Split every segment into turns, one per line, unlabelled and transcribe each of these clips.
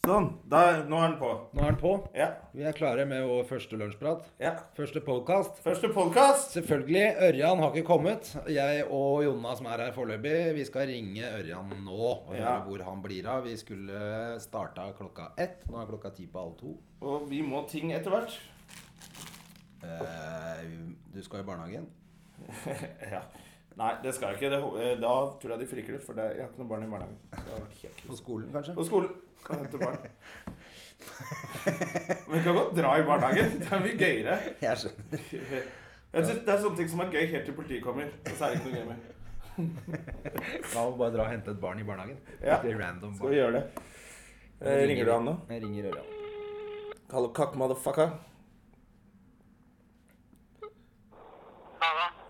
Sånn. Da, nå er den på.
Nå er den på.
Ja.
Vi er klare med vår første lunsjprat.
ja.
Første podkast.
Første podkast.
Selvfølgelig, Ørjan har ikke kommet. Jeg og Jonna som er her foreløpig, vi skal ringe Ørjan nå og høre
Ja.
hvor han blir av. Vi skulle starta klokka ett. Nå er klokka ti på halv to.
Og vi må ting etter hvert.
Eh, du skal i barnehagen.
ja. Nei, det skal jeg ikke. Det, ho- eh, da tror jeg de frikler, for det, jeg har ikke noe barn i barnehagen. Det har vært helt-
På skolen, kanskje?
På skolen. Kan hente barn. Men vi kan godt dra i barnehagen. Det er mye gøyere.
Jeg skjønner.
Jeg synes Det er sånne ting som er gøy helt til politiet kommer. Og så er det ikke noe gøy mer.
La oss bare dra og hente et barn i barnehagen.
Ja.
Litt random
Skal vi gjøre det? Eh, ringer du han nå?
Jeg ringer Ørjan.
Hallo, kakk, motherfucker.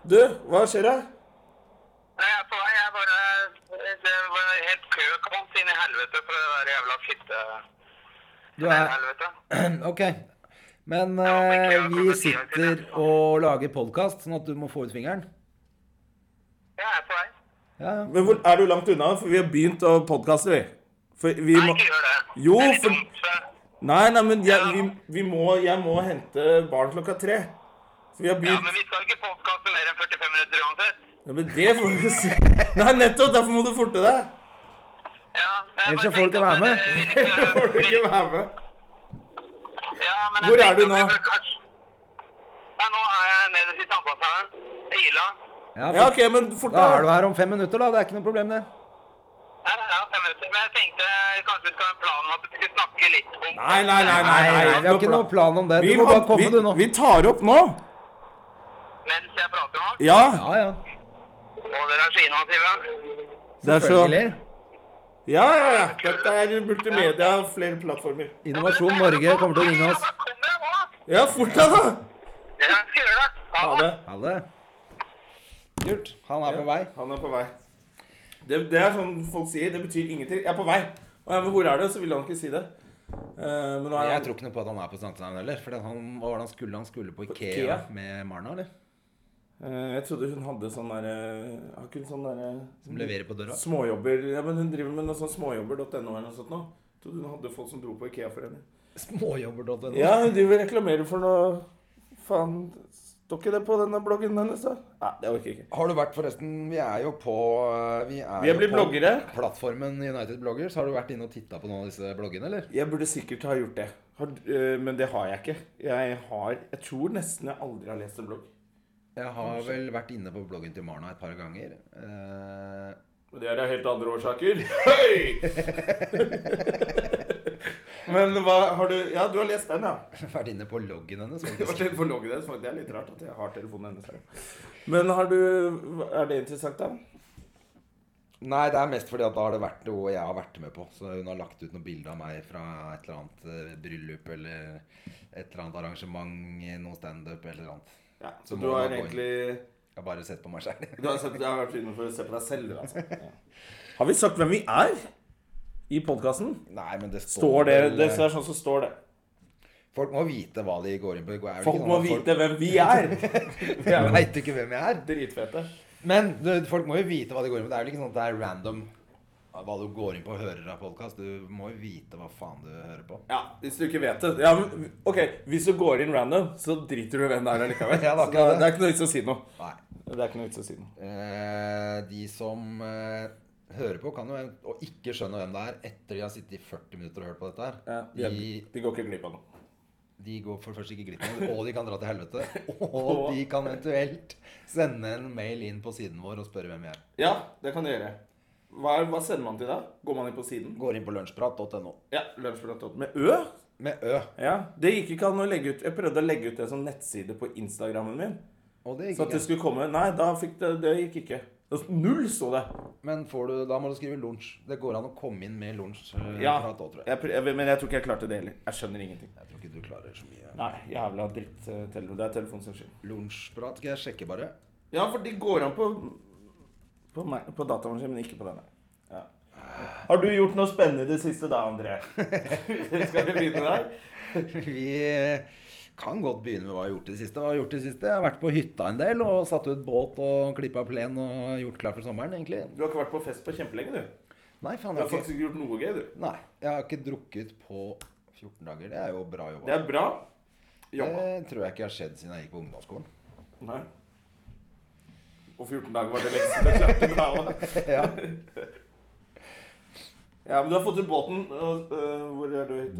Du, hva skjer da?
Nei, jeg er på vei. Jeg bare Det var helt køkant inn i helvete for det der jævla fitte...
Du er
Helvete.
Ok. Men eh, vi sitter og lager podkast, sånn at du må få ut fingeren.
Jeg er på vei.
Ja, ja.
Men hvor, er du langt unna? For vi har begynt å podkaste, vi. For vi
Nei,
må
ikke gjør det.
Jo,
det er litt
for-
dumt. så-
Nei, nei, men jeg, vi, vi må, jeg må hente barn klokka tre. Så vi har
Ja,
begynt
men vi skal ikke podkaste mer enn 45 minutter uansett.
ja, Men det får vi se. Nei, nettopp! Derfor må du forte deg.
Ja, men jeg
Ellers
bare
så får du ikke
tenkte at
være med.
det- det
Får du
virker-
ikke være med?
Ja, men jeg
Hvor er
tenkte
du
at
nå?
det bør kanskje- Nei, nå er jeg nede i tannpasseren. Ila.
Ja,
ja
OK, men fort
da er du
deg.
her om fem minutter, da. Det er ikke noe problem, det.
Ja, ja, fem minutter. Men jeg tenkte eh, kanskje vi skal ha en plan om at vi skulle snakke litt om
Nei, nei, nei. nei, nei,
vi har ikke noe plan om det. Du
Vi,
må
må,
bare komme,
vi,
du, nå.
vi tar opp nå.
mens jeg prater nå.
Ja.
Ja, ja.
Og dere er så innovative.
Det er så
Selvfølgelig.
Ja, ja, ja. Dette er multimedia og flere plattformer.
Innovasjon Norge kommer til å ringe oss.
Ja, fort deg, da!
Ja, skal gjøre det. Ha
Ha
det.
det.
Ha det. Kult. Han er på vei.
Han er på vei. Det, det er sånn folk sier. Det betyr ingenting. Jeg er på vei. Og ja, men hvor er det? Så ville han ikke si det. Eh, men nå er
Jeg
han
tror ikke noe på at han er på Sankthanshaugen heller. For han, hva var det han skulle han skulle på Ikea,
Ikea?
med Marna, eller?
Eh, Jeg trodde hun hadde sånn derre Har ikke hun sånn derre
Som leverer på døra.
Småjobber Ja, men hun driver med noe sånn småjobber.no eller noe sånt nå. Trodde hun hadde folk som dro på Ikea for henne.
Småjobber.no.
Ja, hun driver og reklamerer for noe Faen, står ikke det på denne bloggen hennes, da? Nei, det orker jeg ikke.
Har du vært forresten Vi er jo på eh, Vi er,
Vi er
jo
blitt
på
bloggere.
plattformen United Bloggers. Har du vært inne og titta på noen av disse bloggene, eller?
Jeg burde sikkert ha gjort det. Har, eh, men det har jeg ikke. Jeg har Jeg tror nesten jeg aldri har lest en blogg.
Jeg har vel vært inne på bloggen til Marna et par ganger. Eh,
Men det er av helt andre årsaker. Hei! men hva har du Ja, du har lest den, ja.
vært inne på loggen hennes.
Det var
faktisk.
litt for logg i det, så Det er litt rart at jeg har telefonen hennes her. Men har du Er det interessant, da?
Nei, det er mest fordi at da har det vært noe jeg har vært med på. Så hun har lagt ut noe bilde av meg fra et eller annet eh, bryllup eller et eller annet arrangement, noe standup eller noe annet.
Ja,
Så
så
må
du
man
har
gå inn.
egentlig
Jeg har bare sett på meg sjæl.
Du har, sett, du har vært inne for å se på deg selv, altså. Ja. Har vi sagt hvem vi er i podkasten?
Nei, men det står,
Står det
vel- eh,
Det er sånn som står det.
Folk må vite hva de går inn på. Det er vel
Folk
ikke
må
sånn at
vite hvem vi er! Vi er
Folk
jo
veit ikke hvem jeg er.
dritfete.
Men du, folk må jo vite hva de går inn på. Det er vel ikke sånn at det er random hva du går inn på og hører av podkast. Du må jo vite hva faen du hører på.
Ja, hvis du ikke vet det. Ja, men, ok, Hvis du går inn random, så driter du hvem det er allikevel.
Ja,
Så
det er akkurat det.
det er ikke noe vits å si noe.
Nei.
Det er ikke noe vits å si noe.
Eh, de som eh, hører på, kan jo og ikke skjønner hvem det er etter de har sittet i 40 minutter og hørt på dette her.
Ja, de,
de,
de går ikke glipp av noe.
de går for det første ikke glipp av noe, og de kan dra til helvete. Og de kan eventuelt sende en mail inn på siden vår og spørre hvem vi er.
Ja, det kan du gjøre. Hva, er- hva sender man til da? Går man inn på siden?
Går inn på lunsjprat.no.
Ja, lunsjprat.no. Med Ø?
Med Ø.
Ja. Det gikk ikke an å legge ut Jeg prøvde å legge ut det som nettside på Instagrammen min.
Og det
Så at
gikk
det
ikke.
skulle komme Nei, da fikk det Det gikk ikke. Det- Null sto det.
Men får du, da må du skrive lunsj. Det går an å komme inn med lunsjprat
Ja.
òg, tror jeg.
Jeg, prø- jeg, men jeg tror ikke jeg klarte det heller. Jeg skjønner ingenting.
Jeg tror ikke du klarer så mye.
Nei, jævla dritttelefon. Det er telefonen som skyld.
Lunsjprat skal jeg sjekke, bare.
Ja, for de går an på på, meg, på dataen sin, men ikke på denne. Ja.
Ah.
Har du gjort noe spennende det siste da, André? Skal vi begynne der?
Vi kan godt begynne med hva jeg har gjort i det siste. Hva har Jeg har gjort i det siste? Jeg har vært på hytta en del og satt ut båt og klippa plen og gjort klar for sommeren, egentlig.
Du har ikke vært på fest på kjempelenge, du.
Nei, faen,
Du har
jeg har ikke
faktisk ikke gjort noe gøy, du.
Nei, jeg har ikke drukket på 14 dager. Det er jo bra jobba.
Det er bra jobba.
Det tror jeg ikke har skjedd siden jeg gikk på ungdomsskolen.
Nei. Og 14 dager var det lengste du klarte da også.
ja.
Ja, men du har fått ut båten. Og, øh, hvor er du? Hit?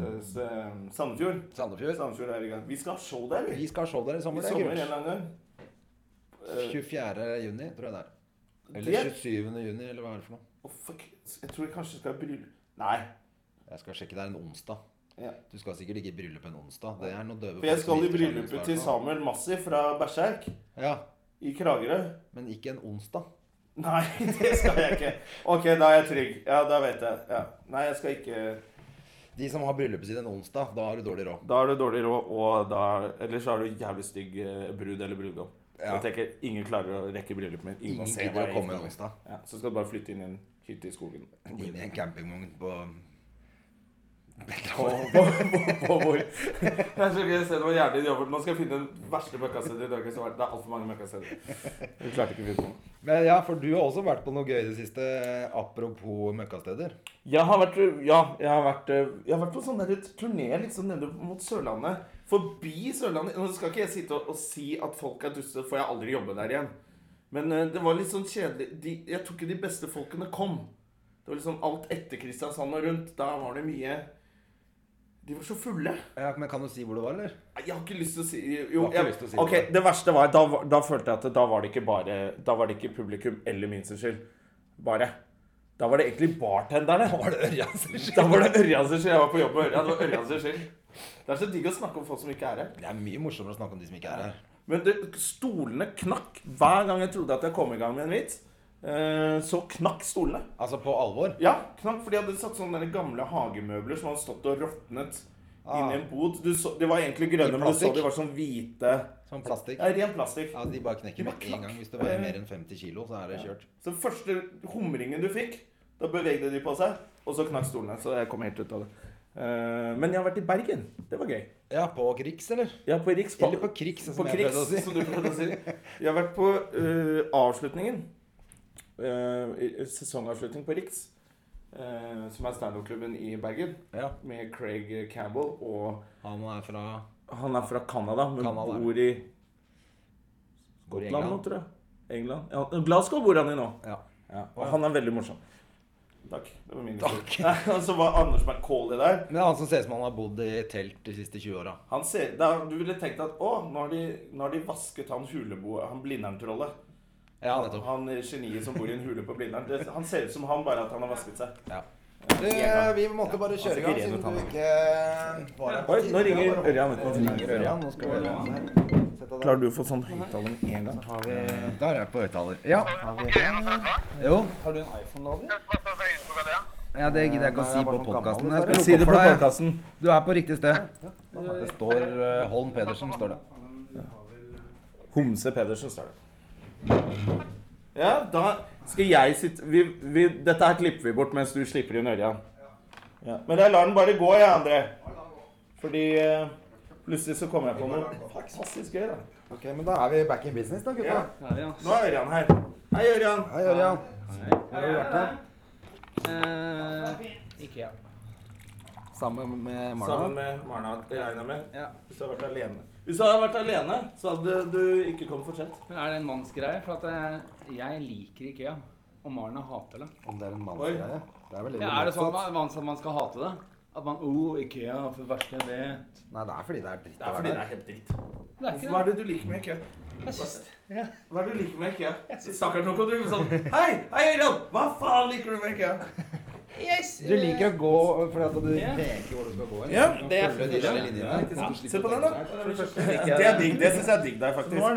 Sandefjord?
Sandefjord.
Sandefjord er i gang. Vi skal ha show der, vi.
Vi skal ha show der
I
i sommer. Det
sommer en
er
eller
kult.
annen gang. Eh,
24. juni, tror jeg det er. Eller
Det
27. juni, eller hva er det for noe?
Å, fuck. Jeg tror jeg kanskje skal ha bryllup Nei.
Jeg skal sjekke. Det er en onsdag.
Ja.
Du skal sikkert ikke i bryllup en onsdag. Det er noe døve
For jeg
folk
skal i
som gifter seg i
bryllupet
starten
til
av.
Samuel Massi fra Berserk
Ja,
i Kragerø.
men ikke en onsdag.
Nei, det skal jeg ikke. Ok, da er jeg trygg. Ja, da vet jeg. Ja. Nei, jeg skal ikke
De som har bryllupet sitt en onsdag, da har du dårlig råd.
Da har du dårlig råd, og da Eller så har du jævlig stygg eh, brud eller brudgom.
Ja.
Jeg tenker, ingen klarer å rekke bryllupet mitt. Ingen,
Ingen
ser
gidder
hva
å
jeg
komme en
gjør.
onsdag.
Ja, så skal du bare flytte inn i en hytte i skogen.
Inn i en campingvogn på
På, på, på, på hvor? Det er så gøy å se det var jævlig jobb. Man skal finne den verste møkkasteder i Norge. Så har vært- det er altfor mange møkkasteder. Vi klarte ikke å finne noe.
Men ja, for du har også vært på noe gøy i det siste. Apropos møkkasteder.
Jeg har vært, ja, jeg har vært, jeg har vært på sånn der turné liksom nede mot Sørlandet. Forbi Sørlandet. Nå skal ikke jeg sitte og, og si at folk er duster, for jeg har aldri jobbe der igjen. Men eh, det var litt sånn kjedelig. De, jeg tror ikke de beste folkene kom. Det var liksom alt etter Kristiansand og rundt. Da var det mye De var så fulle.
Ja, men kan du si hvor du var, eller?
Jeg har ikke lyst til å si Jo,
Du har ikke
jeg,
lyst til å si
ok,
det.
det verste var da, var- da følte jeg at da var det ikke bare Da var det ikke publikum eller min sin skyld. Bare. Da var det egentlig bartenderne.
Var det Ørjan sin
Da var det Ørjan sin skyld. Jeg var på jobb med Ørjan. Det var Ørjan sin skyld. Det er så digg å snakke om folk som ikke er her.
Det er mye morsommere å snakke om de som ikke er her.
Men det, stolene knakk hver gang jeg trodde at jeg kom i gang med en vits. eh, Så knakk stolene.
Altså på alvor.
Ja, knakk, for de hadde satt sånne der gamle hagemøbler som hadde stått og råtnet
Ah.
inni en bod. Du så, de var egentlig grønne,
I
men du så
plastikk?
de var sånn hvite
Som plastikk.
Ja, ren plastikk.
Ja, de bare knekker med en gang. Hvis du veier mer enn 50 kilo, så er det kjørt.
Så den første humringen du fikk, da bevegde de på seg, og så knakk stolene. Så jeg kom helt ut av det. Eh, men jeg har vært i Bergen. Det var gøy.
Ja, på Krigs, eller?
Jeg har på Riks
Eller på Krigs, som
på
jeg prøvde å si.
krigs, som du prøvde å si. Jeg har vært på eh, avslutningen. Eh, sesongavslutning på Riks, eh, som er standup-klubben i Bergen,
Ja,
med Craig Campbell og
han er fra
Han er fra Canada, men
Canada.
bor i
Bor i
Skottland nå,
England.
tror jeg. England. Ja, Glasgow bor han i nå.
Ja.
Ja, og han er veldig morsom. Takk. Det var min
Takk.
historie. Nei, Og så var Anders McCauley der.
Men det er han som ser ut som han har bodd i telt de siste 20 åra.
Han ser, da, du ville tenkt at å, nå har de, nå har de vasket han huleboet, han Blindern-trollet.
Ja, nettopp.
Han geniet som bor i en hule på Blindern. Det- Han ser ut som han, bare at han har vasket seg.
Ja. Du, Eh, vi måtte bare kjøre i gang,
altså,
siden
ikke
du
ren
ikke eh, var her. på
Oi,
tide.
nå ringer Ørjan.
Nå ringer Ørjan. Nå skal vi sette deg.
Klarer du å få sånn høyttaler med en gang?
Der er jeg på høyttaler. Ja. Jo. Har du en iPhone-lader? Ja, det gidder jeg sånn ikke å si på podkasten. Jeg skal
Si det
lukke
på
for deg.
podkasten.
Du er på riktig sted. Det står eh, Holm Pedersen, står det.
Homse Pedersen står det. Ja, da skal jeg sitte vi, vi, Dette her klipper vi bort mens du slipper inn Ørjan. Ja. Men jeg lar den bare gå, jeg, André. Fordi eh, plutselig så kommer jeg på noe fantastisk gøy, da.
Ok, men da er vi back in business, da,
Ja.
gutta.
Nå er Ørjan her. Hei, Ørjan.
Hei, Ørjan.
Eh, Ikea.
Sammen med
Sammen
Marna.
med Marna, det regner jeg med.
Ja.
Hvis du hadde vært alene, Hvis du hadde vært alene, så hadde du ikke kommet for sent.
Men er det en mannsgreie? For at eh, jeg liker Ikea. Og Marna hater det.
Om det er en mannsgreie? Det er vel litt
Ja, er det sånn
motsatt.
at man, at man skal hate det? At man Oh, Ikea er det verste jeg vet.
Nei, det er fordi det er dritt
Det
å
er fordi det
være der.
er helt dritt.
Det er
Hva
ikke det.
er det du liker med IKEA?
Jeg synes- ja.
Hva er det du liker med IKEA? Stakkars nå kom du sånn Hei, hei, Ørjan! Hva faen liker du med IKEA?
Du liker å gå fordi at du
Ja.
vet ikke hvor du skal gå.
Ja,
det
det er
de
fint, ja.
lille linjene.
Ja, Se på den, da. Det er digg. Det syns jeg er digg der, faktisk. den,
Så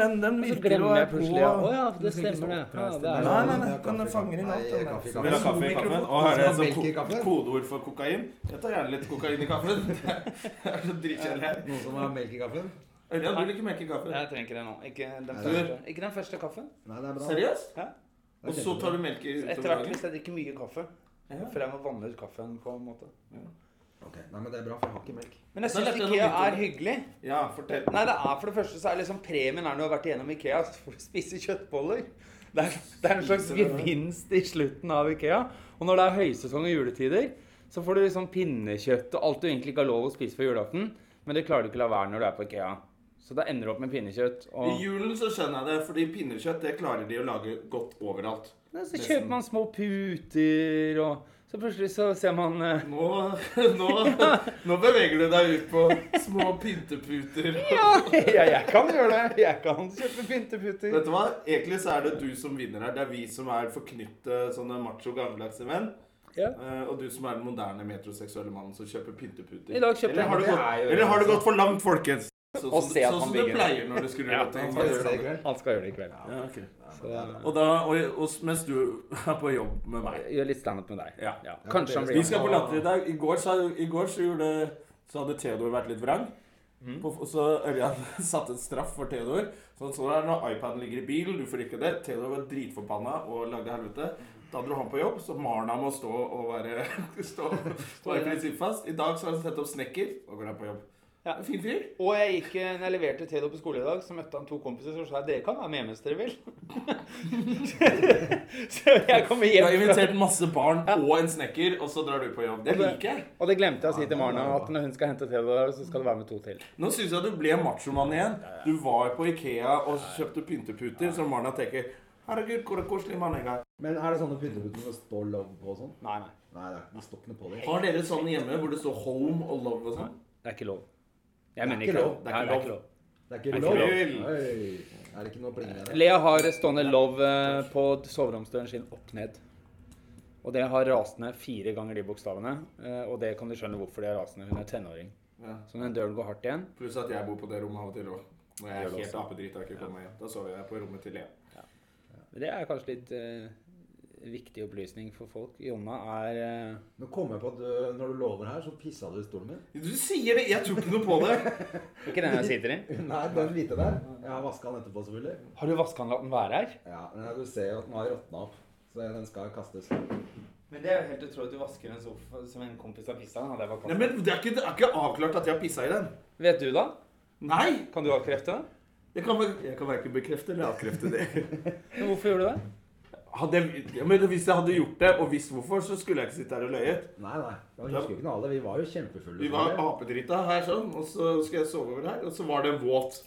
glemmer jeg plutselig ja. Å ja, det stemmer det. Ja, det er
Nei,
det.
nei, nei. Den fanger inn alt.
Nei,
den der.
kaffe i
Vil du ha kaffe i kaffen? Å, her er det
Melk i
sånn ko
kaffen?
kodeord for kokain. Jeg tar gjerne litt kokain i kaffen. Det er så dritkjedelig her.
Noen som har melk i kaffen?
Ørjan, du liker melk i kaffen?
Jeg trenger ikke det nå. Ikke den
første-
første, ikke den første kaffen.
Nei, det er bra.
Seriøst?
Ja.
Og så tar du melk i
Etter hvert
liksom.
hvis jeg drikker mye kaffe.
Ja.
For jeg må vanne ut kaffen på en måte.
Ok, Nei, men det er bra, for jeg har ikke melk.
Men jeg
Da
syns
lærte
Ikea
jeg noe nytt om
er hyggelig.
Ja, fortell.
Nei, det er for det første så er liksom premien er når du har vært igjennom Ikea, så får du spise kjøttboller.
Det er, det er en slags gevinst i slutten av Ikea. Og når det er høysesong og juletider, så får du liksom pinnekjøtt og alt du egentlig ikke har lov å spise før julaften. Men det klarer du ikke la være når du er på Ikea. Så da ender du opp med pinnekjøtt.
I
Og
julen så skjønner jeg det, fordi pinnekjøtt det klarer de å lage godt overalt.
Nei, så kjøper man små puter, og så plutselig så ser man eh,
Nå, nå, nå beveger du deg ut på små pynteputer.
Ja, jeg, jeg kan gjøre det. Jeg kan kjøpe pynteputer.
Vet du hva? Egentlig så er det du som vinner her. Det er vi som er forknyttet sånne macho, gammeldagse menn.
Ja.
Eh, Og du som er den moderne metroseksuelle mannen som kjøper pynteputer.
I dag kjøpte
Eller har det
jeg
gått, eller har det gått for langt, folkens? Sånn
Og
som,
se at
sånn
han
som det
bygger.
pleier når du skrur
Ja,
opp ting.
han
Ja,
det i kveld?
Han skal gjøre det i kveld.
ok.
Så jeg
Og da, og, og mens du er på jobb med meg
gjør litt standup med deg.
Ja.
Kanskje han blir
Vi skal på Latter i dag. I går, så, i går så, gjorde, så hadde Theodor vært litt vrang. På, og så Ørjan satte en straff for Theodor. Så han så der når iPaden ligger i bilen, du får ikke det. Theodor var dritforbanna og lagde helvete. Da dro han på jobb, så Marna må stå og være stå, stå i prinsipp fast. I dag så har han sett opp snekker og går han på jobb.
Ja.
Fin fyr.
Og jeg gikk, eh, når jeg leverte Theodor på skole i dag, så møtte han to kompiser som sa dere kan være med hvis dere vil. så jeg kommer
Du
hjem
har
fra
invitert masse barn og en snekker, og så drar du på jobb. Det liker jeg.
Og det glemte jeg å si til Marna, at når hun skal hente Theodor, så skal det være med to til.
Nå syns jeg du ble machomann igjen. Du var på Ikea og kjøpte pynteputer, så Marna tenker Herregud, hvor er koselig mann jeg er.
Men er det sånn sånne pynteputer som står love på og sånn?
Nei, nei.
Nei, det er- det står ikke noe på dem.
Har dere sånn hjemme hvor det står 'home' og 'love' og sånn?
Det er ikke lov. Jeg mener
ikke
ikke
lov.
lov.
Det er ikke
Nei, det er
lov.
ikke lov.
Det er ikke
er
lov.
ikke lov.
Oi. Er det ikke noe pling med det?
Lea har stående love eh, på soveromsdøren sin opp ned. Og det har rast ned fire ganger de bokstavene. eh, Og det kan du skjønne hvorfor de har rast ned. Hun er tenåring.
Ja.
Så når den døren går hardt igjen
Pluss at jeg bor på det rommet av og til òg. Når jeg
Gjør
er
det
helt
også.
apedrita og ikke kommer meg hjem. Da sover jeg på rommet til Lea.
Det er kanskje litt eh, viktig opplysning for folk. Jonna er eh,
Nå kom jeg på at du, når du lover her, så pissa du i stolen min.
Du sier det! Jeg tror ikke noe på det.
Ikke den jeg sitter i.
Nei, den hvite der. Jeg har vaska den etterpå, selvfølgelig.
Har du vaska den latt den være her?
Ja, men Du ser jo at den har råtna opp, så den skal kastes.
Men det er jo helt utrolig at du vasker en sofa som en kompis har pissa i.
Nei, men det er ikke, det er ikke avklart at jeg har pissa i den.
Vet du da?
Nei!
Kan du avkrefte det?
Jeg kan, vel- jeg kan verken bekrefte eller avkrefte det.
Men hvorfor gjorde du det?
Hadde jeg, ja, men hvis jeg hadde gjort det, og visst hvorfor, så skulle jeg ikke sitte her og løyet.
Nei, nei. Jeg husker jo ikke noe av det. Vi var jo kjempefulle.
Vi var
selvfølgelig.
apedrita her sånn, og så skulle jeg sove over her, og så var det våt.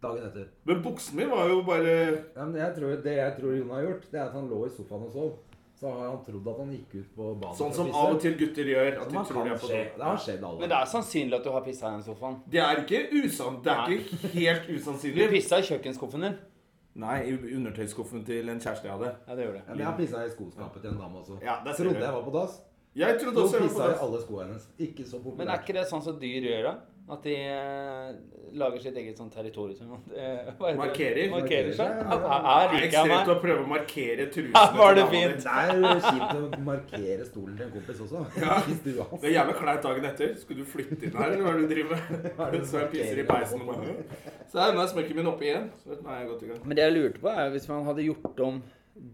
Dagen etter.
Men buksen min var jo bare
Ja, men jeg tror, det jeg tror Jon har gjort, det er at han lå i sofaen og sov. Så har han trodd at han gikk ut på badet.
sånn som av og til gutter gjør. At de
Man
tror
kan
de er på
skje.
do.
Det har skjedd alle.
Men det er sannsynlig at du har pissa i den sofaen.
Det er ikke usann, det er ikke helt
Du
usannsynlig.
pissa i kjøkkenskuffen din.
Nei, i undertøysskuffen til en kjæreste jeg hadde.
Ja, det gjorde
Ja, men jeg har pissa i skoskapet til en dame også.
Ja, der ser
trodde
du.
jeg var på dass.
Jeg trodde
Nå
også jeg var på
pissa i
dass.
alle skoene hennes. Ikke så populært.
Men er ikke det sånn som dyr gjør, da? At de eh, lager sitt eget sånn territorium? Eh, hva heter det?
Markerer.
Markerer seg?
Markerer seg,
Her
ja.
her
Det er
liker jeg
ekstremt
meg.
å prøve å markere trusene.
Ja, var det
til
fint?
dama di.
Det er kjipt å markere stolen til en kompis også. I stua hans.
Det er jævla kleint dagen etter. Skulle du flytte inn her, eller hva er det du driver med? Så jeg pisser i peisen. og bare, Så er den smøkken min oppe igjen. Så nå er jeg godt i gang.
Men det jeg lurte på, er hvis man hadde gjort om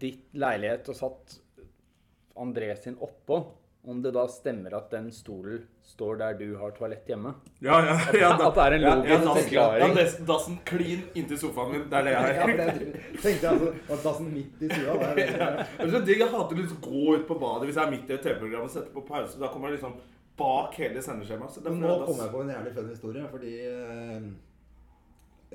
ditt leilighet og satt André sin oppå, om det da stemmer at den stolen står der du har toalett hjemme?
Ja, ja, ja,
At det er en logisk
ja, dassen-
forklaring.
Ja, dassen- dassen klin inntil sofaen min. Det er det jeg
Ja,
er.
for jeg tenkte altså at dassen midt i stua der.
Det er så digg. Jeg hater å liksom gå ut på badet hvis jeg er midt i et TV-program og setter på pause. Da kommer jeg liksom bak hele sendeskjemaet. Så det
Men
må
Nå
da-
kom jeg på en jævlig fun historie, fordi eh,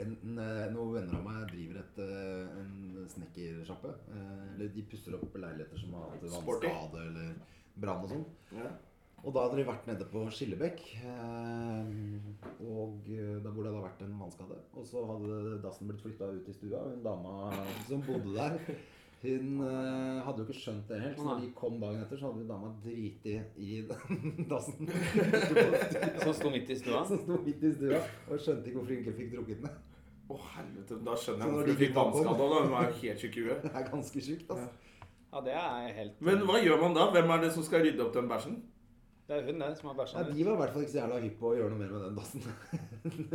en, eh, noen venner av meg driver et, eh, en snekkersjappe. eh, Eller de pusser opp leiligheter som har hatt
Sporty.
vannskade eller brann og sånn.
ja.
Og da hadde de vært nede på Skillebekk, eh, og eh, der hvor det hadde vært en vannskade. Og så hadde dassen blitt flytta ut i stua. Hun dama som bodde der, hun eh, hadde jo ikke skjønt det helt. Så når de kom dagen etter, så hadde jo dama driti i den dassen
Som sto midt i stua.
som sto midt i stua, og skjønte ikke hvorfor hun ikke fikk drukket den.
Å, helvete. Da skjønner jeg
Så når
hvorfor
de
du fikk
gutta kom.
vannskade. Da Hun var jo helt tjukk i huet.
Det er ganske sjukt, altså.
Ja, det er helt
Men hva gjør man da? Hvem er det som skal rydde opp den bæsjen?
Det er hun det som har bæsja
Nei,
den ut.
de var i hvert fall ikke så jævla hypp på å gjøre noe mer med den dassen.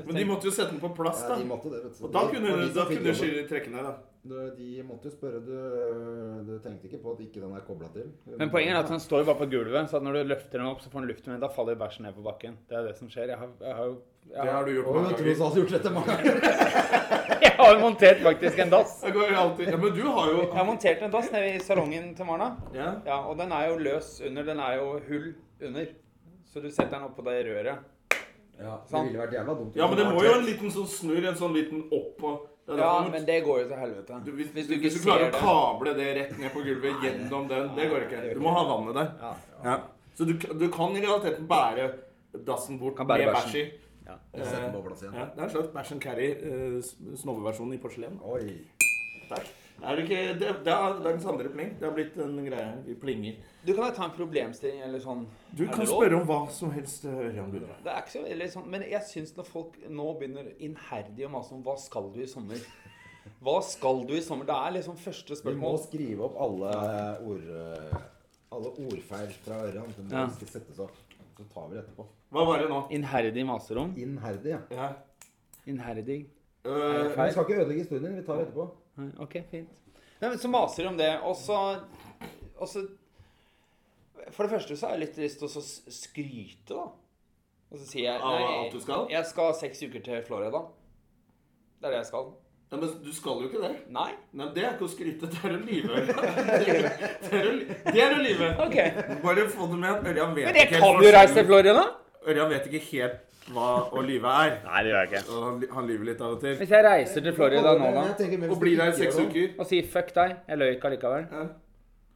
Men de måtte jo sette den på plass,
Ja,
da.
de måtte det, vet du.
Og da
Det
kunne
var
du
de som
da
fikk
kunne
jobben.
du trekke ned, da.
Du- De måtte jo spørre du, øh, du tenkte ikke på at ikke den er kobla til.
Men poenget er at den står bare på gulvet, så at når du løfter den opp, så får den luft med den. Da faller bæsjen ned på bakken. Det er det som skjer. Jeg har, jeg har,
Det
jeg har,
har du gjort
Å,
mange
jeg tror du
ganger.
har gjort dette mange ganger.
jeg har montert faktisk en dass.
Jeg går jo alltid Ja, men du har jo
Jeg har montert en dass nede i salongen til Marna.
Ja.
Ja, og den er jo løs under. Den er jo hull under. Så du setter den oppå det røret.
Det ville vært jævla dumt.
ja, men det må jo en liten sånn snurr, en sånn liten opp og Det er
Ja,
derfor du-
men det går jo til helvete.
du, hvis,
Hvis
hvis,
du ikke
du klarer
ser
å
det.
kable det rett ned på gulvet gjennom den, det går ikke. Du må ha vannet der.
Ja.
Ja. Så du, du kan i realiteten bære dassen bort
Kan bære
med bæsj
bæsjen.
i.
Og sette den på plass igjen.
Ja, det er en slags bæsj and carry, eh, s- snoveversjonen i porselen.
Oi.
Takk. Er det, ikke, det, det er dagens andre pling. Det har blitt en greie. Vi plinger.
Du kan jo ta en problemstilling eller sånn.
Du
Er
kan
det lov?
spørre om hva som helst, Ørjan Gunnar.
Det er ikke så veldig sånn, Men jeg syns når folk nå begynner innherdig å mase om hva skal du i sommer? Hva skal du i sommer? Det er liksom første
Du må
spørsmål.
skrive opp alle, ord, øh, alle ordfeil fra Ørjan. Det må
Ja.
ikke settes opp. Så tar vi det etterpå.
Hva var det nå?
Inherdig maserom.
Innherdig, ja.
Ja.
Inherdig.
Eh,
Men Vi skal ikke ødelegge historien. Vi tar det etterpå.
Nei, OK, fint.
Nei, men Så maser de om det, og så, og så For det første så har jeg litt lyst til å så s- skryte, da. Og så sier jeg
Av
nei,
alt du skal?
Jeg skal seks uker til Florida. Det er det jeg skal.
ja, men du skal jo ikke det.
Nei?
Nei, Det er ikke å skryte. Det er å lyve. Det er- det er å ly- Det er å lyve.
OK.
Bare få det med at Ørjan vet
Men jeg
ikke helt
kan jo
forskjellen.
reise til Florida!
Ørjan vet ikke helt hva å lyve er.
Nei, det gjør jeg ikke.
Og han, han lyver litt av og til.
Hvis jeg reiser til Florida nå, da,
Jeg tenker mer hvis
Og blir
du
der i
ikke
seks
gjør noe.
uker.
og sier 'fuck deg', jeg løy ikke allikevel
Ja.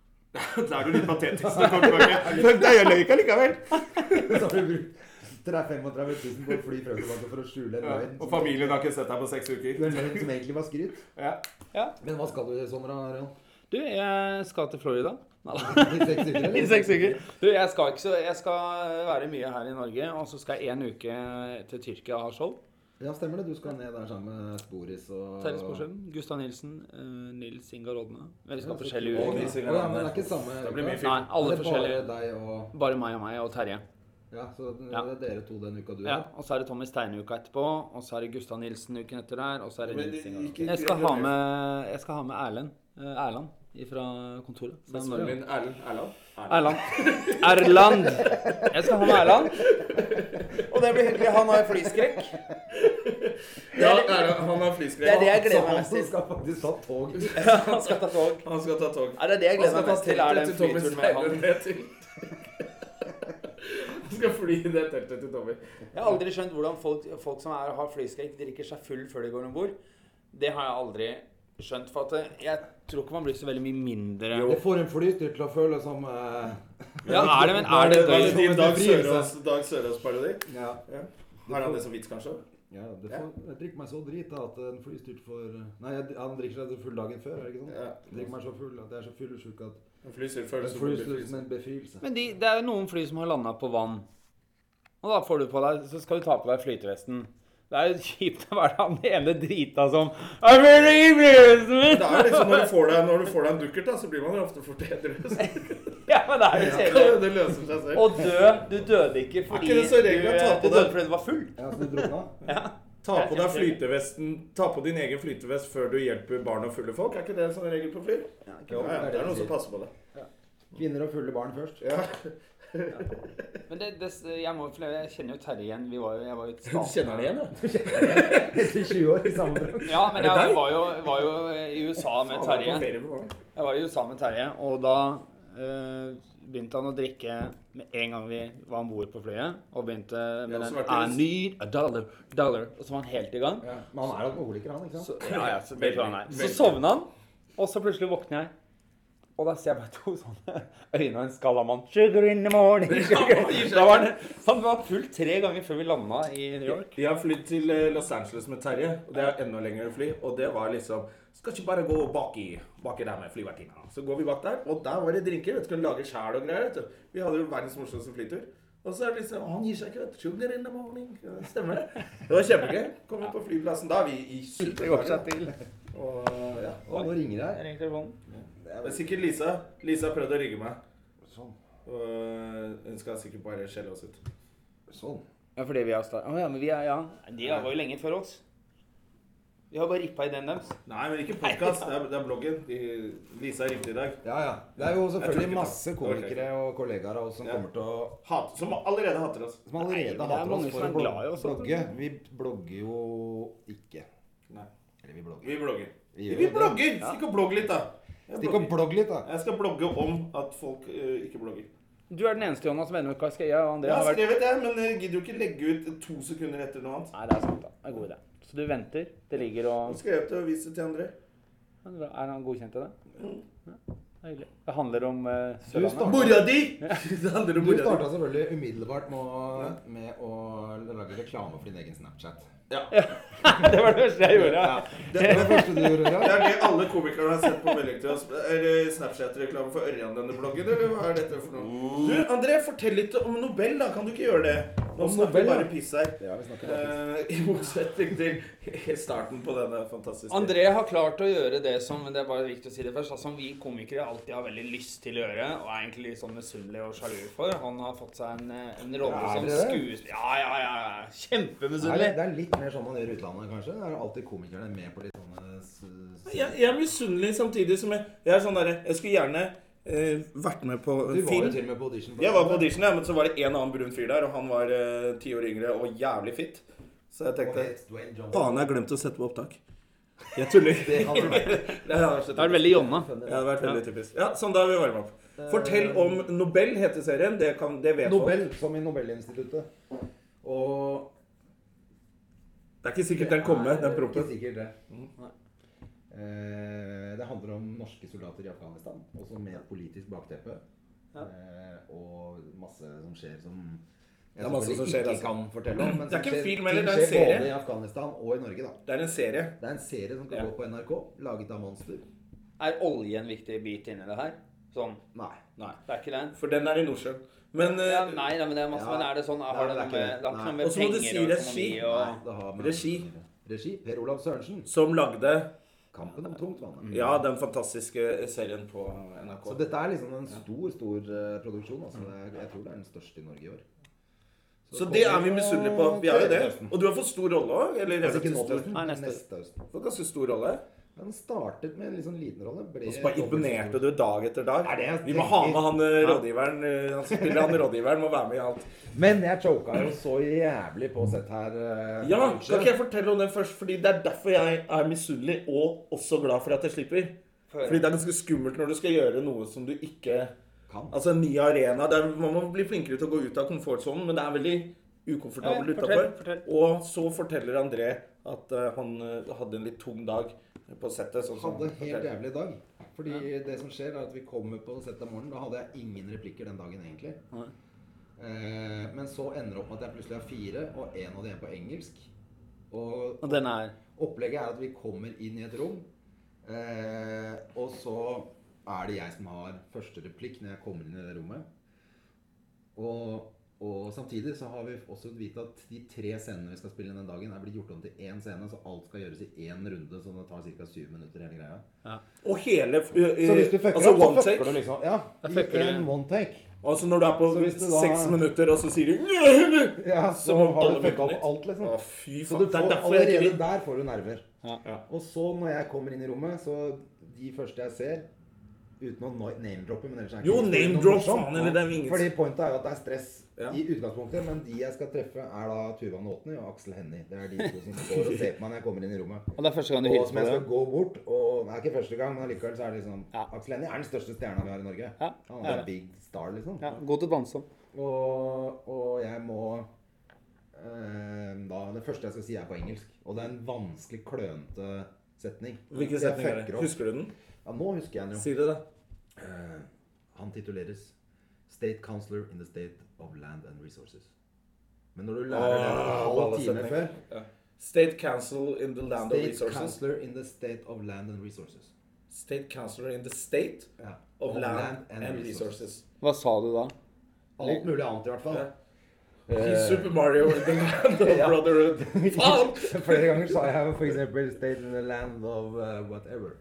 Da er du litt patetisk. når du kommer tilbake. Fuck deg, jeg løy ikke allikevel.
sånn, Så har du brukt 35 000 på å fly frem og tilbake for å skjule en
Ja.
løgn.
Og familien har ikke sett deg på seks uker.
En løgn som egentlig var skryt.
Ja.
Men hva skal du i sommer, da, Ørjan?
Du, jeg skal til Florida. Nei da.
I seks uker? eller?
I seks uker. Du, jeg skal ikke så Jeg skal være mye her i Norge, og så skal jeg en uke til Tyrkia og ha show.
Ja, stemmer det. Du skal ned der sammen med Sporis og
Terje Sporsem, Gustav Nilsen, eh, Nils Ingar Odne. Men Vi skal
Å,
forskjellige uker.
ja, men det er ikke samme
Det blir mye
uka.
Nei, alle
Det er
forskjellige.
Bare deg og
Bare meg og meg og Terje.
Ja, så det
Ja.
er dere to den uka du
Ja,
er.
og så er det Tommy Steine-uka etterpå, og så er det Gustav Nilsen uken etter der, og så er det
Men det
Nils Ingar
gikk ikke-
Odne. Jeg skal ha med, jeg skal ha med Erlend. eh, Erland fra kontoret. Så det er Norge.
Min Erlend Erland.
Erland. Erland. Jeg skal ha med Erland.
Og det blir hyggelig. Han har flyskrekk.
Ja, Erland, han har
Det er det jeg
flyskrekk.
Sånn, Så
gleder meg
han
mest til.
skal faktisk ta tog.
Han skal ta tog.
Han skal ta tog.
Nei, det er det jeg gleder meg mest til, er den
teltet Tommy
flyturen med
Steiner
han.
ned til Han skal fly i det teltet til Tommy.
Jeg har aldri skjønt hvordan folk, folk som er, har flyskrekk, drikker seg full før de går om bord. Det har jeg aldri skjønt. For at eh, jeg tror ikke man blir så veldig mye mindre
Det får en flystyr til å føle som eh,
Ja, er det, men er det
Var
døgn?
din Dag Sørås- Dag Sørås-parodi?
Ja,
Har han det som vits, kanskje?
ja det får, jeg drikker meg så drita at en flystyrt får Nei, jeg, han drikker seg full dagen før, er det ikke sånn?
Ja.
Jeg drikker meg så full at jeg er så fyllesyk at
En flystyrt
jeg
føles som en
flystyrt
befrielse.
som en befrielse.
Men de, det er jo noen fly som har landa på vann. Og da får du på deg, så skal du ta på deg flytevesten. Det er jo kjipt å være han ene drita som «I'm ready,
Det
flytevesten
er jo liksom når du får deg, når du får deg en dukkert, da, så blir man jo ofte fort edru. Så
min!» Ja, men det er jo kjedelig.
Det løser seg selv.
Å dø Du døde ikke fordi
ikke det så regel å ta på
du
deg-
døde fordi du var full.
Ja, så du drukna?
Ta på deg flytevesten, ta på din egen flytevest før du hjelper barn og fulle folk. Er ikke det en sånn regel på fly?
Jo,
Ja, ja, det er noen som passer på det.
Kvinner og fulle barn først.
Ja.
Men det, det, jeg, må, jeg kjenner jo Terje igjen. Vi var jo, jeg var jo et
Du kjenner det igjen, du.
Etter 20 år i samme drøm.
Ja, men
det
jeg
deg?
var jo, var jo eh, i USA med Terje. Jeg var i USA med Terje, og da eh, begynte han å drikke med en gang vi var om bord på flyet. Og begynte med
Ja, og så
den
ble det-
I need a dollar, dollar. Og så var han helt i gang.
Ja, men han er alkoholiker, han, ikke sant?
Så, ja, ja, så, det
Veldig,
tror jeg han er. så
veldig.
sovna han, og så plutselig våkner jeg. Og da ser jeg bare to sånne øyne og en skallamann. Sugar in the morning, sugar. Da var det, han var full tre ganger før vi landa i New York.
Jeg har flydd til eh, Los Angeles med Terje, og det er enda lengre fly. Og det var liksom Skal ikke bare gå baki, baki der med flyvertinna. Så går vi bak der, og der var det drinker. Vet du, skal lage sjæl og greier. Vet du. Vi hadde jo verdens morsomste flytur. Og så er det liksom Han gir seg ikke, vet du. Sugar in the morning. Ja, det Stemmer det? Det var kjempegøy. Kom inn på flyplassen. Da er vi i
Det går seg
superferie.
til.
Og eh, ja.
Å, nå ringer jeg.
Jeg ringte telefonen.
Det er sikkert Lisa. Lisa har prøvd å ringe meg.
Sånn.
Og eh, hun skal sikkert bare skjelle oss ut.
Sånn.
Ja, fordi vi har startet Å ja, men vi er Ja.
De var jo lenge før oss. Vi har bare rippa i den deres.
Nei, men ikke podkast. Det, er- det er bloggen. De, Lisa ringte i dag.
Ja, ja. Det er jo
Jeg tror
selvfølgelig
ikke
masse
det.
komikere og kollegaer av oss som
Ja.
kommer til å
Hat, som allerede hater oss.
Som allerede
Nei, men det er
hater
mange
oss for
som
å
er glad i oss, da.
blogge. Vi blogger jo ikke.
Nei.
Eller vi blogger.
Vi blogger.
Vi
Vi,
gjør det.
blogger! Stikk og blogg litt, da. Jeg
Stikk og
blogger.
blogg litt, da.
Jeg skal blogge om at folk eh, ikke blogger.
Du er den eneste Jonas som er enig med hva skal jeg og
Jeg
André
har
har vært
skrevet det, men jeg gidder jo ikke legge ut to sekunder etter noe annet.
Nei, det er sant, da. Det er en god idé. Så du venter. Det ligger
Jeg
og
skrev jeg det og viste det til andre.
Ja, det er bra. Er han godkjent til det?
Mm.
Ja, det er hyggelig. Det handler om eh,
starter.
Sørlandet.
Mora di! Det handler om
Du
mora di.
starta selvfølgelig umiddelbart nå med å lage reklame for din egen Snapchat.
det var det første jeg gjorde.
Ja. Det var det første du gjorde.
Det
Ja.
er det alle komikere har sett på melding til oss. Er det Snapchat-reklame for Ørjan denne bloggen, eller hva er dette for noe?
Mm.
Du, André, fortell litt om Nobel, da. Kan du ikke gjøre det? Nå
Om
snakker vi
Nobel, ja.
bare piss her.
Ja, vi snakker bare piss.
Eh, I motsetning til helt starten på denne fantastiske
André har klart å gjøre det som det er bare viktig å si det først, altså, som vi komikere alltid har veldig lyst til å gjøre, og er egentlig litt sånn misunnelig og sjalu for. Han har fått seg en, eh, en rolle
Ja, er
som
det det?
skuespiller. Ja, ja, ja. ja.
Det er,
Kjempemisunnelig.
det er litt mer sånn man gjør i utlandet, kanskje? Det er alltid komikerne med på litt sånne s- s-
Jeg, jeg er misunnelig samtidig som jeg Jeg er sånn derre Jeg skulle gjerne eh, vært med på
Du
en
var jo
film.
til og med på audition.
Jeg var på audition, ja, men så var det en annen brun fyr der, og han var eh, ti år yngre og jævlig fitt. Så jeg tenkte Faen, jeg har glemt å sette på opptak. Jeg tuller.
Det hadde vært
Det hadde vært
Det er veldig Jonna.
funny.
det hadde vært veldig typisk. Ja, sånn da er vi varma opp. Fortell om Nobel heter serien. Det, kan, det vet folk.
Eh, Nobel, som i Nobelinstituttet. Og
Det er ikke sikkert den kommer, den
Ikke
proppen.
sikkert det. Eh, det handler om norske soldater i Afghanistan, også med et politisk bakteppe. Eh, og masse som skjer som jeg
Det er masse
selvfølgelig
som skjer,
ikke
altså.
kan fortelle om.
Det
Men
er
som
ikke en
skjer-
film heller,
ting
det er en
skjer
serie.
Både i Afghanistan og i Norge, da.
Det er en serie.
Det er en serie som skal
Ja.
gå på NRK, laget av Monster.
Er olje en viktig bit inni det her? Sånn.
Nei.
Nei. Det er ikke det.
For den er i Nordsjøen. Men eh,
Ja, nei, nei, men det er masse,
Ja.
men er det sånn,
Nei,
har det
det er
noe
ikke
med,
det.
det har ikke noe
Nei.
med
Og så må du
penger
si
og økonomi
regi.
Nei,
og
det har
Regi.
Regi. Per Olav Sørensen.
som lagde
Kampen om tungtvannet.
ja, den fantastiske serien på NRK.
Så dette er liksom en stor, stor eh, produksjon. Altså. Det er, jeg tror det er den største i Norge i år.
Så det er vi misunnelige på. Vi er jo det.
Høsten.
Og du har fått stor rolle òg. Eller
Altså ikke nå
relativt
til høsten,
stor.
Nei,
men
neste
neste høsten.
Du har ganske stor rolle.
Den startet med en litt sånn liten rolle. ble
Og så bare
dobbelt
imponerte
stor.
du dag etter dag.
Er det jeg
Vi må ha
tenker?
med han eh, rådgiveren. eh, Han som spiller han rådgiveren, må være med i alt.
Men jeg choka jo så jævlig på sett her. eh,
Ja,
kanskje.
kan ikke jeg fortelle om det først? Fordi det er derfor jeg er misunnelig, og også glad for at jeg slipper.
Før.
Fordi det er ganske skummelt når du skal gjøre noe som du ikke
Kan.
Altså en ny arena. Der man må bli flinkere til å gå ut av komfortsonen, men det er veldig
Ja,
ukomfortabel
ja,
utenfor.
fortell, fortell.
Og så forteller André at eh, han eh, hadde en litt tung dag på settet. Sånn som
hadde
han
en helt
forteller.
jævlig dag. Fordi det som skjer, er at vi kommer på settet om morgenen. Da hadde jeg ingen replikker den dagen, egentlig. Eh, men så ender det opp med at jeg plutselig har fire, og en av de er på engelsk. Og
Og den er
Opplegget er at vi kommer inn i et rom, eh, og så er det jeg som har første replikk når jeg kommer inn i det rommet. Og, og samtidig så har vi også fått vite at de tre scenene vi skal spille inn den dagen, er blitt gjort om til én scene, så alt skal gjøres i én runde, så det tar ca. syv minutter hele greia.
Og hele eh,
Så hvis du fucker
Altså
opp, så
one
fucker
take.
du liksom. Ja, i
fucker du.
en one take.
Altså når du er på
Så hvis du da-
seks minutter, og så sier du
Ja, så
må
har
alle
du fucka
begynne
opp alt, liksom.
Å, fy
Så
faen.
du
Det
får,
er derfor jeg ikke
allerede
vil
der får du nerver.
Ja.
Og så når jeg kommer inn i rommet, så de første jeg ser Uten å no- name-droppe, men ellers er det
Jo,
ikke noe
name-drop,
morsomt.
faen, eller det er jo ingen-
Fordi pointet er jo at det er stress
Ja.
i utgangspunktet, men de jeg skal treffe, er da Tuva Nåtny og Aksel Hennie. Det er de to som står og ser på meg når jeg kommer inn i rommet.
Og det er første gang du
Og
hilser
som
på
jeg skal
det.
gå bort og Det er ikke første gang, men allikevel så er det liksom
Ja.
Aksel Hennie er den største stjerna vi har i Norge.
Ja,
Han
det
er
er
en big star, liksom.
Ja, god til å danse om.
Og, og jeg må eh, da, Det første jeg skal si, er på engelsk. Og det er en vanskelig, klønete setning.
Hvilken
Så jeg
setning er
fucker
det?
opp.
Husker du den?
Ja, nå husker jeg den jo.
Si det, da.
Eh, han tituleres State Counselor in the State of Land and Resources. Men når du lærer det en
Åh,
halv
alle
time
setninger.
før
State Council in the Land of
State
Resources.
Counselor in the State of Land and Resources.
State Councilor in the State
Ja.
of Land and Resources.
Hva sa du da?
Alt mulig annet, i hvert fall.
He's Super Mario in the Land of
Eh, Ja.
Brotherhood. Faen!
Flere ganger sa jeg for eksempel State in the land of eh, whatever.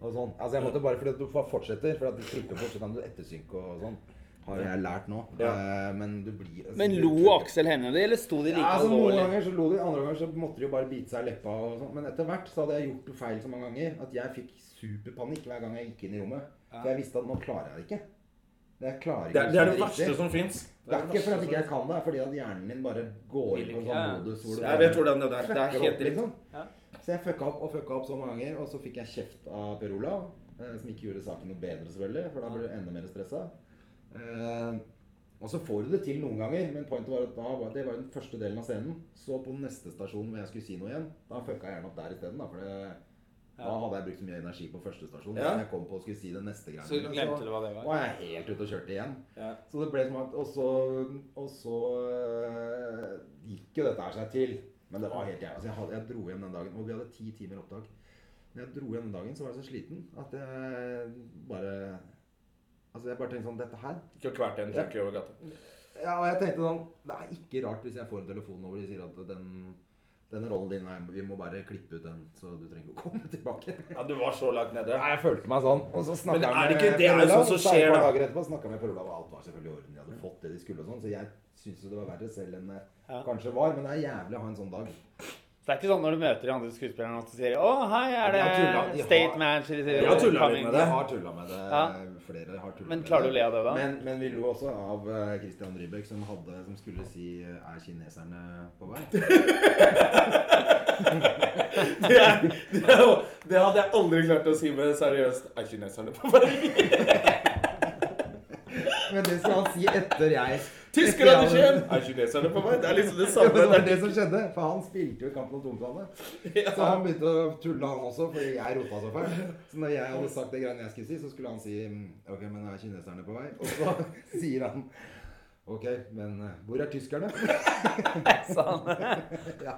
Og sånn. Altså jeg måtte bare fordi at du bare fortsetter, for at du slipper fortsatt om du ettersynker og sånn. har jeg lært nå. Eh, Men du blir altså,
Men
du-
lo Aksel henne det, eller sto de like
Ja, altså, noen
alvorlig?
ganger så lo de, andre ganger så måtte de jo bare bite seg i leppa. og sånt. Men etter hvert så hadde jeg gjort feil så mange ganger at jeg fikk superpanikk hver gang jeg gikk inn i rommet. For jeg visste at nå klarer jeg det ikke. Jeg klarer
Det
ikke
er det, er
å
det
gjøre
verste
riktig.
som fins.
Det er ikke fordi at ikke jeg kan det, det er fordi at hjernen min bare går inn på en
ikke, ja.
sånn modus hvor du
Jeg vet hvordan det er. Det er helt riktig.
liksom. Så jeg fucka opp og fucka opp så mange ganger, og så fikk jeg kjeft av Per Olav. eh, Som ikke gjorde saken noe bedre, selvfølgelig, for da ble du enda mer stressa. Eh, og så får du det til noen ganger, men pointet var at da var det var jo den første delen av scenen. Så på neste stasjon hvor jeg skulle si noe igjen, da fucka jeg gjerne opp der isteden. da, For det, da hadde jeg brukt så mye energi på første stasjon.
Ja.
Så jeg kom på og skulle si det neste greia.
Så glemte du hva det var?
Og jeg er helt ute og kjørte igjen.
Ja.
Så det ble som at Og så, og så øh, gikk jo dette her seg til. Men det var helt jævlig. Altså, jeg, hadde, jeg dro hjem den dagen, og vi hadde ti timer opptak. Når jeg dro hjem den dagen, så var jeg så sliten at jeg bare Altså, jeg bare tenkte sånn Dette her
Ikke hvert en trykker over gata.
ja, og jeg tenkte sånn Det er ikke rart hvis jeg får en telefon hvor de sier at den, den rollen din her, vi må bare klippe ut den, så du trenger ikke å komme tilbake.
Ja, du var så langt nede.
Nei, jeg følte meg sånn. Og så
Men
snakket
er
jeg
det ikke- det er jo
Per Olav,
sånn som
og så et
skjer,
par
da.
dager etterpå snakket jeg med Per Olav, og alt var selvfølgelig i orden. De hadde fått det de skulle og sånn. Så jeg syns jo det var verre selv enn det kanskje var. Men det er jævlig å ha en sånn dag.
Så det er ikke sånn når du møter de andre skuespillerne at de sier Å, hei, er
De har tullet, de
det
har-
state manager? i
har tullet litt
coming?"
med
Men
det.
jeg har tullet med det.
Ja.
Flere har tullet
Men
med
klarer du å le av det da?
Men, men vi lo også av eh, Christian Rybek, som, hadde, som skulle si eh, Er kineserne på vei?
Det, er, det, er, jo- det hadde jeg aldri klart å si med seriøst. Er kineserne på vei?
Men det skal han si etter jeg
Tyskerne
etter jeg-
kjem! Er kineserne på vei? Det er liksom det
Ja, men
samme.
det var
Det
det som skjedde, for han spilte jo i Kampen om tomtvannet. Så han begynte å tulle, han også, fordi jeg rota så fælt. Så når jeg hadde sagt det greiene jeg skulle si, så skulle han si «Mm, Ok, men er kineserne på vei? Og så sier han Ok, men eh, hvor er tyskerne? ja.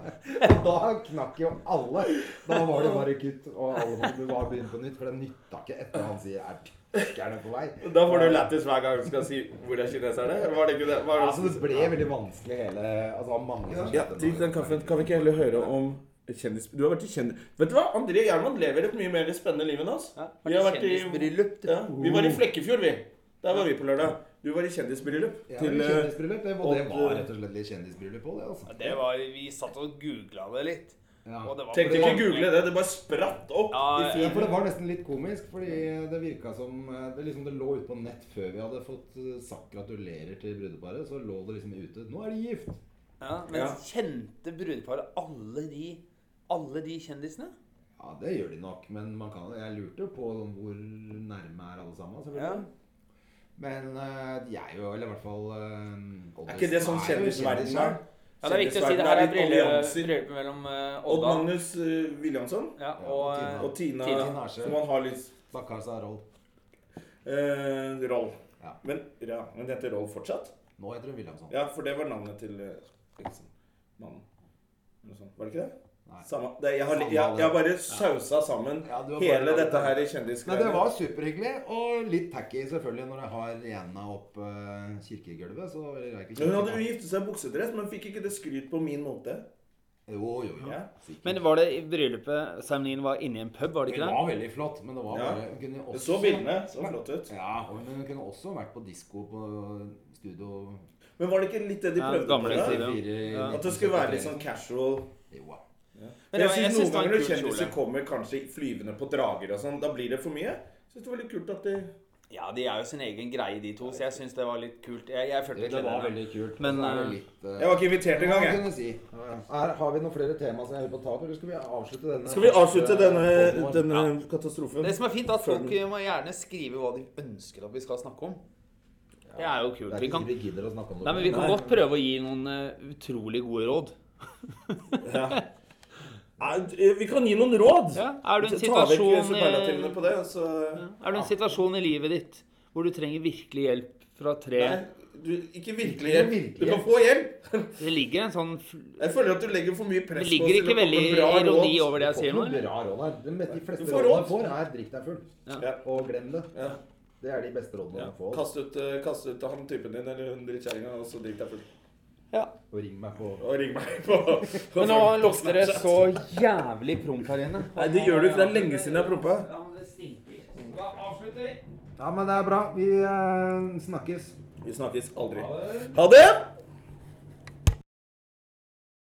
Og da knakk jo alle. Da var det bare kutt, og alle måtte bare begynne på nytt. For det nytta ikke etter han sier er tyskerne på vei.
er- Da får du lættis hver gang du skal si 'hvor er kineserne'? Var det ikke det? Var det
Altså, det ble veldig vanskelig hele Altså, det var mange som
Ja,
skjedde
drikk den kaffen. Kan vi ikke heller høre om kjendis... Du har vært i kjendis... Vet du hva? André Gjerman lever et mye mer spennende liv enn oss.
Ja,
Vi har vært i
kjendisbryllup, du.
Ja, vi var i Flekkefjord, vi. Der var vi på lørdag. Du var i kjendisbryllup.
Ja,
Til
men
eh,
kjendisbryllup. Det var, det
og-
var rett og slett litt kjendisbryllup på det, altså.
Det var, vi satt og googla det litt.
Ja.
Og det var
eh, Tenkte ikke
mange-
google det, det bare spratt opp.
Ja,
i
Ja,
feeden.
for det var nesten litt komisk, fordi det virka som eh, det, liksom, det lå ute på nett før vi hadde fått eh, sagt gratulerer til brudeparet. Så lå det liksom ute. Nå er de gift!
Ja, men
Ja.
kjente brudeparet alle de, alle de kjendisene?
Ja, det gjør de nok, men man kan, jeg lurte jo på sånn, hvor nærme er alle sammen. selvfølgelig. Men eh, de er jo Eller i hvert fall uh,
Er ikke det sånn kjendisverden er?
Ja, Det er viktig å si
Kjendisverden
det her er
litt
brille-
allianser.
bryllup mellom eh,
Odd
Odda
Magnus eh, Williamson
ja,
Ja,
og
og
eh,
Tina.
og Tina,
Tina Harsø.
som han har litt
Stakkars Roll.
eh, roll.
Ja.
Men, ja, men det heter roll fortsatt?
Nå heter hun Williamson.
Ja, for det var navnet til eh, liksom, mannen. Eller noe sånt. Var det ikke det?
Nei.
Samme, det jeg, har,
Samme
jeg, jeg har
det.
bare sausa sammen
Ja, du har bare
hele
laget
dette
det.
her i
Men det
kjendisgreiene.
var superhyggelig, og litt tacky selvfølgelig når jeg har rena opp eh, kirkegulvet. Så eller, jeg er ikke
Hun hadde jo giftet seg i buksedress, men fikk ikke det skryt på min måte.
Jo, jo, jo.
Ja.
Sikkert.
Men var det i bryllupet seremonien var inne i en pub, var det
det
ikke det?
var veldig flott, men det var
Ja.
bare hun kunne
Jeg
også,
så bildene, så flott ut.
Ja, og- men hun kunne også vært på disko på studio
Men var det ikke litt det de
Ja,
prøvde
gamle
på? da?
tider.
34
Ja.
At det skulle være litt sånn casual.
Jo da.
Men det
Jeg
var- jeg
synes
synes
noen
det var en
ganger når
kul
kjendiser
kjole.
kommer kanskje flyvende på drager og sånn, da blir det for mye. Jeg synes det var litt kult at de
Ja, de er jo sin egen greie, de to, så jeg syns det var litt kult. Jeg, jeg følte
Det, det var
det.
veldig kult.
Men,
og så er
eh,
det litt, eh,
Jeg var ikke invitert
hva
engang,
kan
jeg.
du si? Er, har vi noen flere tema som jeg vil på ta opp, eller skal vi avslutte denne?
Skal vi avslutte denne,
podden vår?
denne katastrofen?
Det som er fint, er at folk eh, må gjerne skrive hva de ønsker at vi skal snakke om.
Det er jo
Det
kult.
er
Vi
ikke
kan,
sikkert vi gidder å snakke om det.
nei, men vi kan godt prøve å gi noen eh, utrolig gode råd.
Ja. Nei, Vi kan gi noen råd.
Ja, er du i
Ta vekk
en situasjon eh,
superlativene
eh,
i-
på det, og så
Er du i en situasjon i livet ditt hvor du trenger virkelig hjelp fra tre
Nei, du, ikke virkelig
Ikke
hjelp.
virkelig
Du kan
hjelp.
få hjelp.
Det ligger en sånn fl-
Jeg føler at du legger for mye
Det
press på
ligger ikke veldig ironi over det jeg
får
sier nå?
noen
eller?
bra råd her. De, de
Du
fleste
får
rådene
råd.
jeg får, er drikk deg full.
Ja.
Og glem det.
Ja.
Det er de beste rådene
Ja.
jeg får.
Kast, ut, eh, kast ut han typen din eller hun drittkjerringa, og så drit deg full.
Ja.
Og ring meg på
Og ring meg på, på
Men nå lukter det så jævlig promp her inne.
Nei, det gjør du ikke. Det er lenge siden jeg har prompa.
Ja, men det stinker. Da avslutter vi.
Ja, men det er bra. Vi eh, snakkes.
Vi snakkes aldri. Ha det!